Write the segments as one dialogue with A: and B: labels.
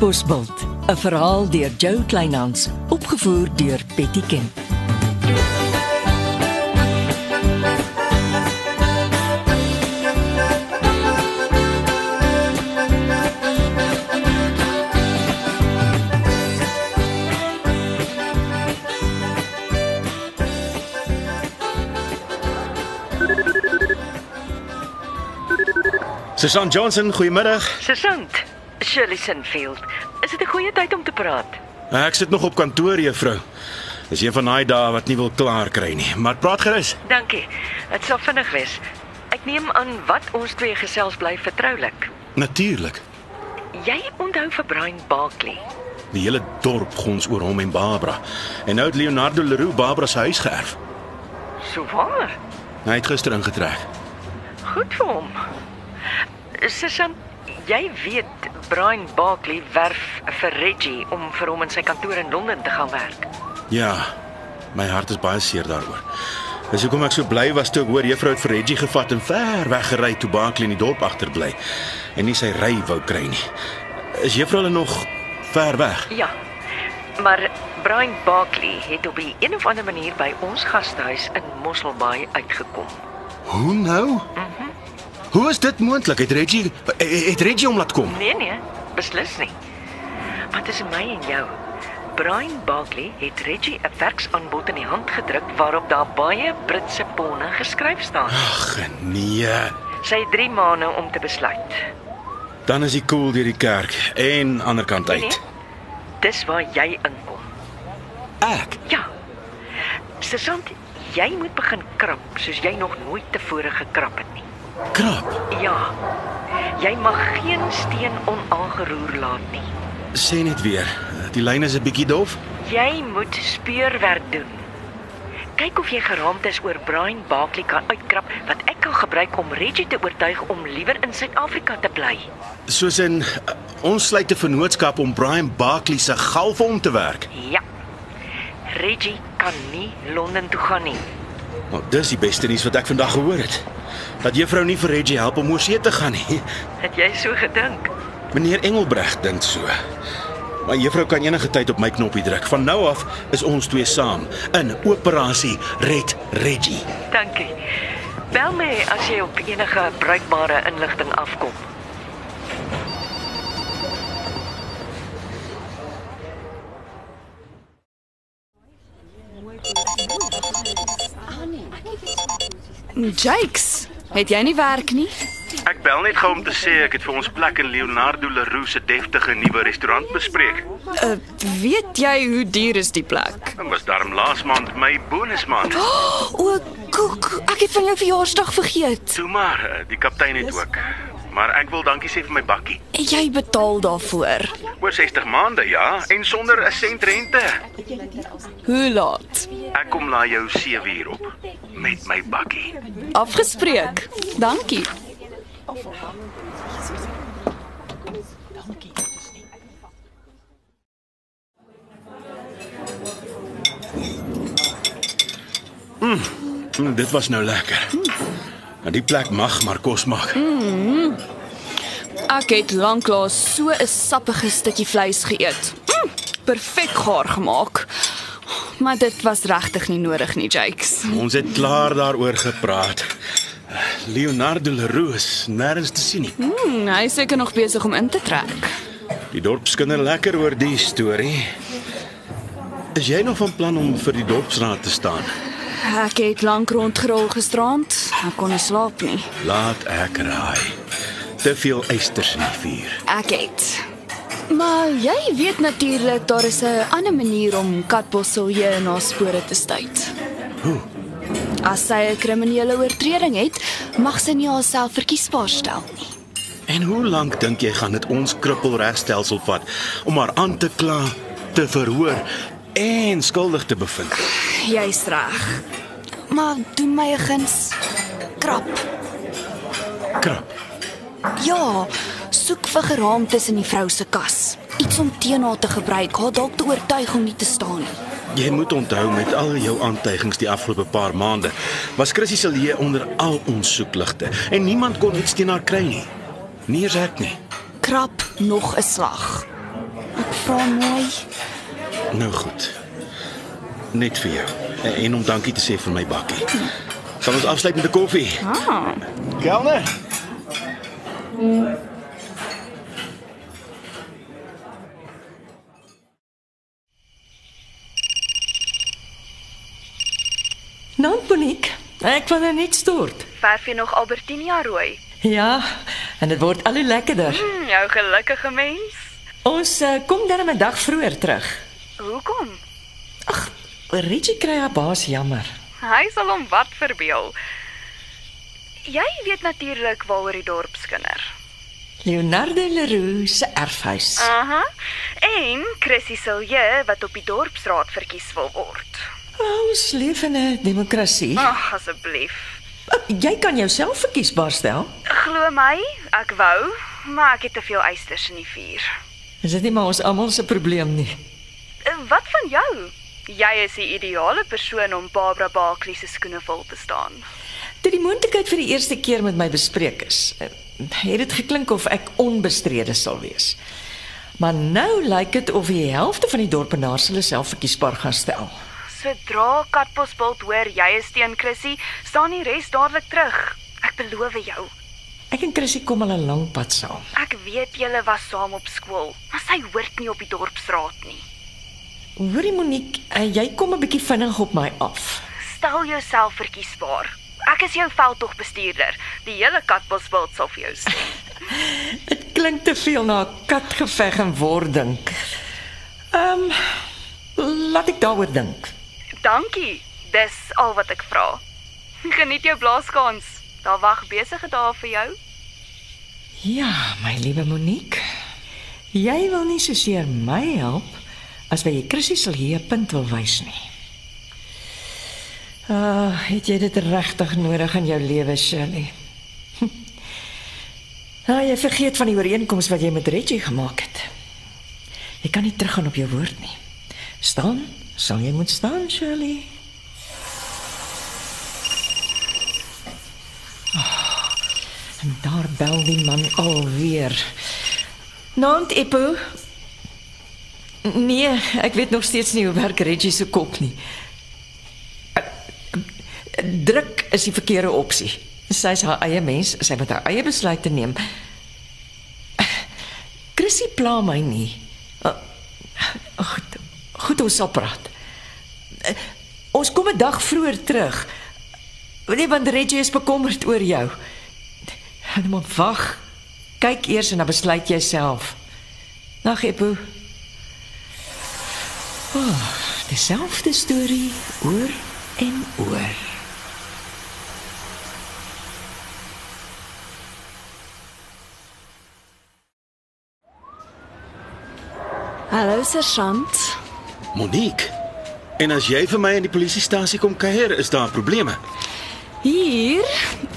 A: Bosbult, 'n verhaal deur Jo Kleinhans, opgevoer deur Betty Ken.
B: Susan Johnson, goeiemiddag.
A: Sussant, Shirley Sinfield. Is dit 'n goeie tyd om te praat?
B: Ek sit nog op kantoor, juffrou. Dis een van daai dae wat nie wil klaar kry nie, maar praat gerus.
A: Dankie. Dit sal vinnig wees. Ek neem aan wat ons twee gesels bly vertroulik.
B: Natuurlik.
A: Jy onthou vir Brian Barkley.
B: Die hele dorp gons oor hom en Barbara. En nou het Leonardo Leroux Barbara se huis geërf.
A: So waar.
B: Hy het gister ingetrek.
A: Goed vir hom. Sussant, jy weet Brian Barkley werf vir Reggie om vir hom in sy kantoor in Londen te gaan werk.
B: Ja. My hart is baie seer daaroor. Dis hoekom ek so bly was toe ek hoor juffrou het vir Reggie gevat en ver weggery toe Barkley in die dorp agterbly en nie sy ry wou kry nie. Is juffrou hulle nog ver weg?
A: Ja. Maar Brian Barkley het op 'n een of ander manier by ons gastehuis in Mosselbaai uitgekom.
B: Hoe nou? Hoe is dit moontlik? Het Reggie het Reggie hom laat kom?
A: Nee nee, beslis nie. Wat is my en jou? Brian Barkley het Reggie 'n werksaanbod in die hand gedruk waarop daar baie Britse ponne geskryf staan.
B: Ag nee.
A: Sy het 3 maande om te besluit. Nee,
B: Dan is hy koel deur die kerk en ander kant
A: Nee,
B: uit.
A: Dis waar jy inkom.
B: Ek.
A: Ja. Sergeant, jy moet begin krap soos jy nog nooit tevore gekrap het nie.
B: Krap.
A: Ja. Jy mag geen steen onaangeroer laat nie.
B: Sê net weer. Die lyn is 'n bietjie dof.
A: Jy moet speurwerk doen. Kyk of jy geraamtes oor Brian Barkley kan uitkrap wat ek kan gebruik om Reggie te oortuig om liewer in Suid-Afrika te bly.
B: Soos in uh, ons sluit 'n vennootskap om Brian Barkley se gal vir hom te werk.
A: Ja. Reggie kan nie Londen toe gaan nie.
B: Nou, dis die beste nuus wat ek vandag gehoor het. Dat juffrou nie vir Reggie help om oorsee te gaan nie.
A: Het jy so gedink?
B: Meneer Engelbreg dink so. Maar juffrou kan enige tyd op my knoppie druk. Van nou af is ons twee saam in operasie Red Reggie.
A: Dankie. Bel my as jy op enige bruikbare inligting afkom.
C: Mm, Jakes, het jy nie werk nie?
D: Ek bel net gou om te sê ek het vir ons plek in Leonardo Leroux se deftige nuwe restaurant bespreek.
C: Uh, weet jy hoe duur is die plek?
D: Dit was darm laas maand my bonusmaand.
C: O, koek, ek het van jou verjaarsdag vergeet.
D: Toe maar, eh, die kaptein het ook. Maar ek wil dankie sê vir my bakkie.
C: Jy betaal daarvoor.
D: Oor 60 maande, ja, en sonder 'n sent rente.
C: Hoe laat?
D: Ek kom na jou 7 uur op met my bakkie.
C: Afgespreek. Dankie.
B: Mm, dit was nou lekker. En die plek mag maar kos maak.
C: Ek het lanklaas so 'n sappige stukkie vleis geëet. Mm, Perfek gaar gemaak. Maar dit was regtig nie nodig nie, Jakes.
B: Ons het klaar daaroor gepraat. Leonardo Leroux is nêrens te sien nie.
C: Hmm, hy is seker nog besig om in te trek.
B: Die dorp skinder lekker oor die storie. Is jy nog van plan om vir die dorpsraad te staan?
C: Ek het lank rondgerol gisterand. Ek kon nie slaap nie.
B: Laat ek raai. Te veel eisters in die vuur.
C: Ek het. Maar jy weet natuurlik daar is 'n ander manier om katbosselje in haar spore te stuit.
B: Hoe?
C: As sy 'n kriminele oortreding het, mag sy nie haarself verkiesbaar stel nie.
B: En hoe lank dink jy gaan dit ons krippelregstelsel vat om haar aan te kla, te verhoor en skuldig te bevind?
C: Jy's reg. Maar doen my 'n guns. Krap.
B: Krap.
C: Ja, soek vir geraamtes in die vrou se kas. Iets om teen haar te gebruik, haar dalk te oortuig om nie te staan nie.
B: Jy moet onthou met al jou aantuigings die afgelope paar maande was Chrissy se leë onder al ons soekligte en niemand kon iets teen haar kry nie. Nie eens ek nie.
C: Krap nog 'n slag. vra mooi.
B: Nou goed. Net vir jou. En- En om dankie te sê vir my bakkie. Sal ons afsluit met 'n koffie?
C: Ah,
B: Kelner.
A: Nou, Monique, ek wil nou net stort.
E: Verf jy nog Albertinia rooi?
A: Ja, en dit word al hoe lekkerder.
E: Hm, jou gelukkige mens.
A: Ons uh, kom dan 'n dag vroeër terug.
E: Hoekom?
A: Ag, Reggie kry haar baas jammer.
E: Hy sal hom wat verbeel. Jy weet natuurlik waaroor die dorp skinder.
A: Leonardo Leroux se erfhuis. Ah,
E: Aha. En Chrissy Silje wat op die dorpsraad verkies wil word.
A: Oh, ons leef in 'n demokrasie.
E: Ag, asseblief.
A: Jy kan jouself verkiesbaar stel.
E: Glo my, ek wou, maar ek het te veel eisters in die vuur.
A: Is dit nie maar ons almal se probleem nie?
E: Eh, Wat van jou? Jy is die ideale persoon om Barbara Barkley se skoene vol te staan.
A: Toe die moontlikheid vir die eerste keer met my bespreek is, eh, het dit geklink of ek onbestrede sal wees. Maar nou lyk dit of die helfte van die dorpenaars hulle self verkiesbaar gaan stel.
E: Sodra Katbosbult hoor jy is teen Chrissy, staan die res dadelik terug. Ek beloof jou.
A: Ek en Chrissy kom al 'n lang pad saam.
E: Ek weet julle was saam op skool, maar sy hoort nie op die dorpsraad nie.
A: Hoorie Monique, eh, jy kom 'n bietjie vinnig op my af.
E: Stel jouself verkiesbaar. Ek is jou veldtogbestuurder. Die hele Katbosbult sal vir jou stem.
A: Dit klink te veel na 'n katgeveg en wording. Ehm um, laat ek daaroor dink.
E: Dankie. Dis al wat ek vra. Geniet jou blaaskans. Daar wag besige dae vir jou.
A: Ja, my liewe Monique. Jy wil nie so seer my help as wat jy Chrissy sal hier 'n punt wil wys nie. Ah, het jy dit regtig nodig in jou lewe, Shirley? Hm. Ah, jy vergeet van die ooreenkoms wat jy met Reggie gemaak het. Jy kan nie teruggaan op jou woord nie. Staan, sal jy moet staan, Shirley. En daar bel die man alweer. Naand Eppo. Nee, ek weet nog steeds nie hoe werk Reggie se kop nie. Druk is die verkeerde opsie. Sy is haar eie mens, sy moet haar eie besluite neem. Chrissy pla my nie. Goed, goed ons sal praat. Ons kom 'n dag vroeër terug. Nee, want Reggie is bekommerd oor jou. Nou maar wag. Kyk eers en dan besluit jy self. Nag Epo. Oh, dieselfde storie oor en oor.
C: hallo sergeant.
B: Monique. En as jy vir my in die polisiestasie kom kuier, is daar probleme.
C: Hier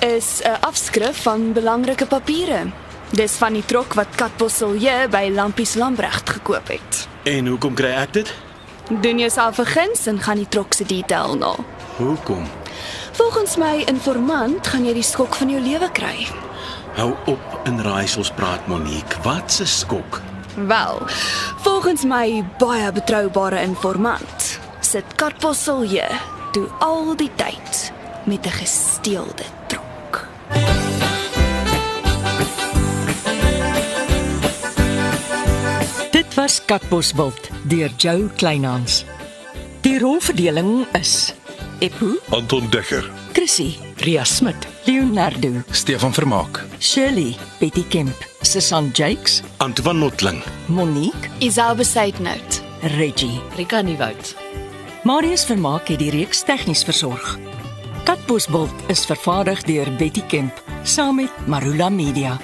C: is 'n afskrif van belangrike papiere. Dis van die trok wat Katbosselje by Lampies Lambregt gekoop het.
B: En hoekom kry ek dit?
C: Doen jouself 'n guns en gaan die trok se detail na.
B: Hoekom?
C: Volgens my informant gaan jy die skok van jou lewe kry.
B: Hou op in raaisels praat Monique. Wat 'n skok.
C: Wel, volgens my baie betroubare informant sit Katbosselje toe al die tyd met 'n gesteelde trok.
A: Dit was Katbosveld deur Jo Kleinhans. Die rolverdeling is Epo,
F: Anton Dekker,
A: Chrissy, Ria Smit, Leonardo,
G: Stefan Vermaak,
A: Shirley, Betty Kemp, Susan Jakes,
B: Antoine Notling.
A: Monique
C: Isabel Besaidnout.
A: Reggie. Rika Nieuwoud. Marius Vermaak het die reeks tegnies versorg. Katbosbult is vervaardig deur Betty Kemp saam met Marula Media.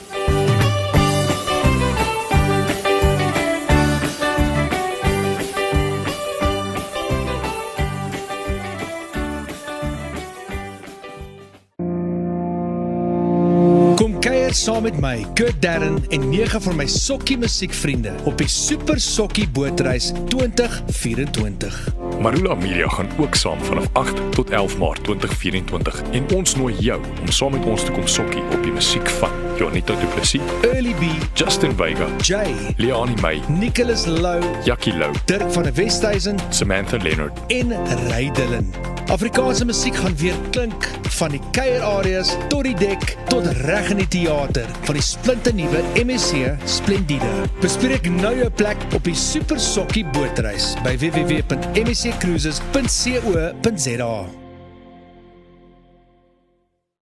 H: Kom kuier saam met my, Kurt Darren en nege van my sokkie musiekvriende op die Super Sokkie Bootreis 2024.
I: Marula Media gaan ook saam vanaf 8 tot 11 Maart 2024 en ons nooi jou om saam met ons te kom sokkie op die musiek van Jonita Du Plessis,
H: Early B,
I: Justin Vega,
H: Jay,
I: Leoni May,
H: Nicholas Lou,
I: Jackie Lou,
H: Dirk van der Westhuizen
I: Samantha Leonard
H: en Rydelin. Afrikaanse musiek gaan weer klink van die kuierareas tot die dek tot reg in die teater van die splinternuwe MSC Splendide. Bespreek nou jou plek op die Super Sokkie bootreis by www.msccruises.co.za.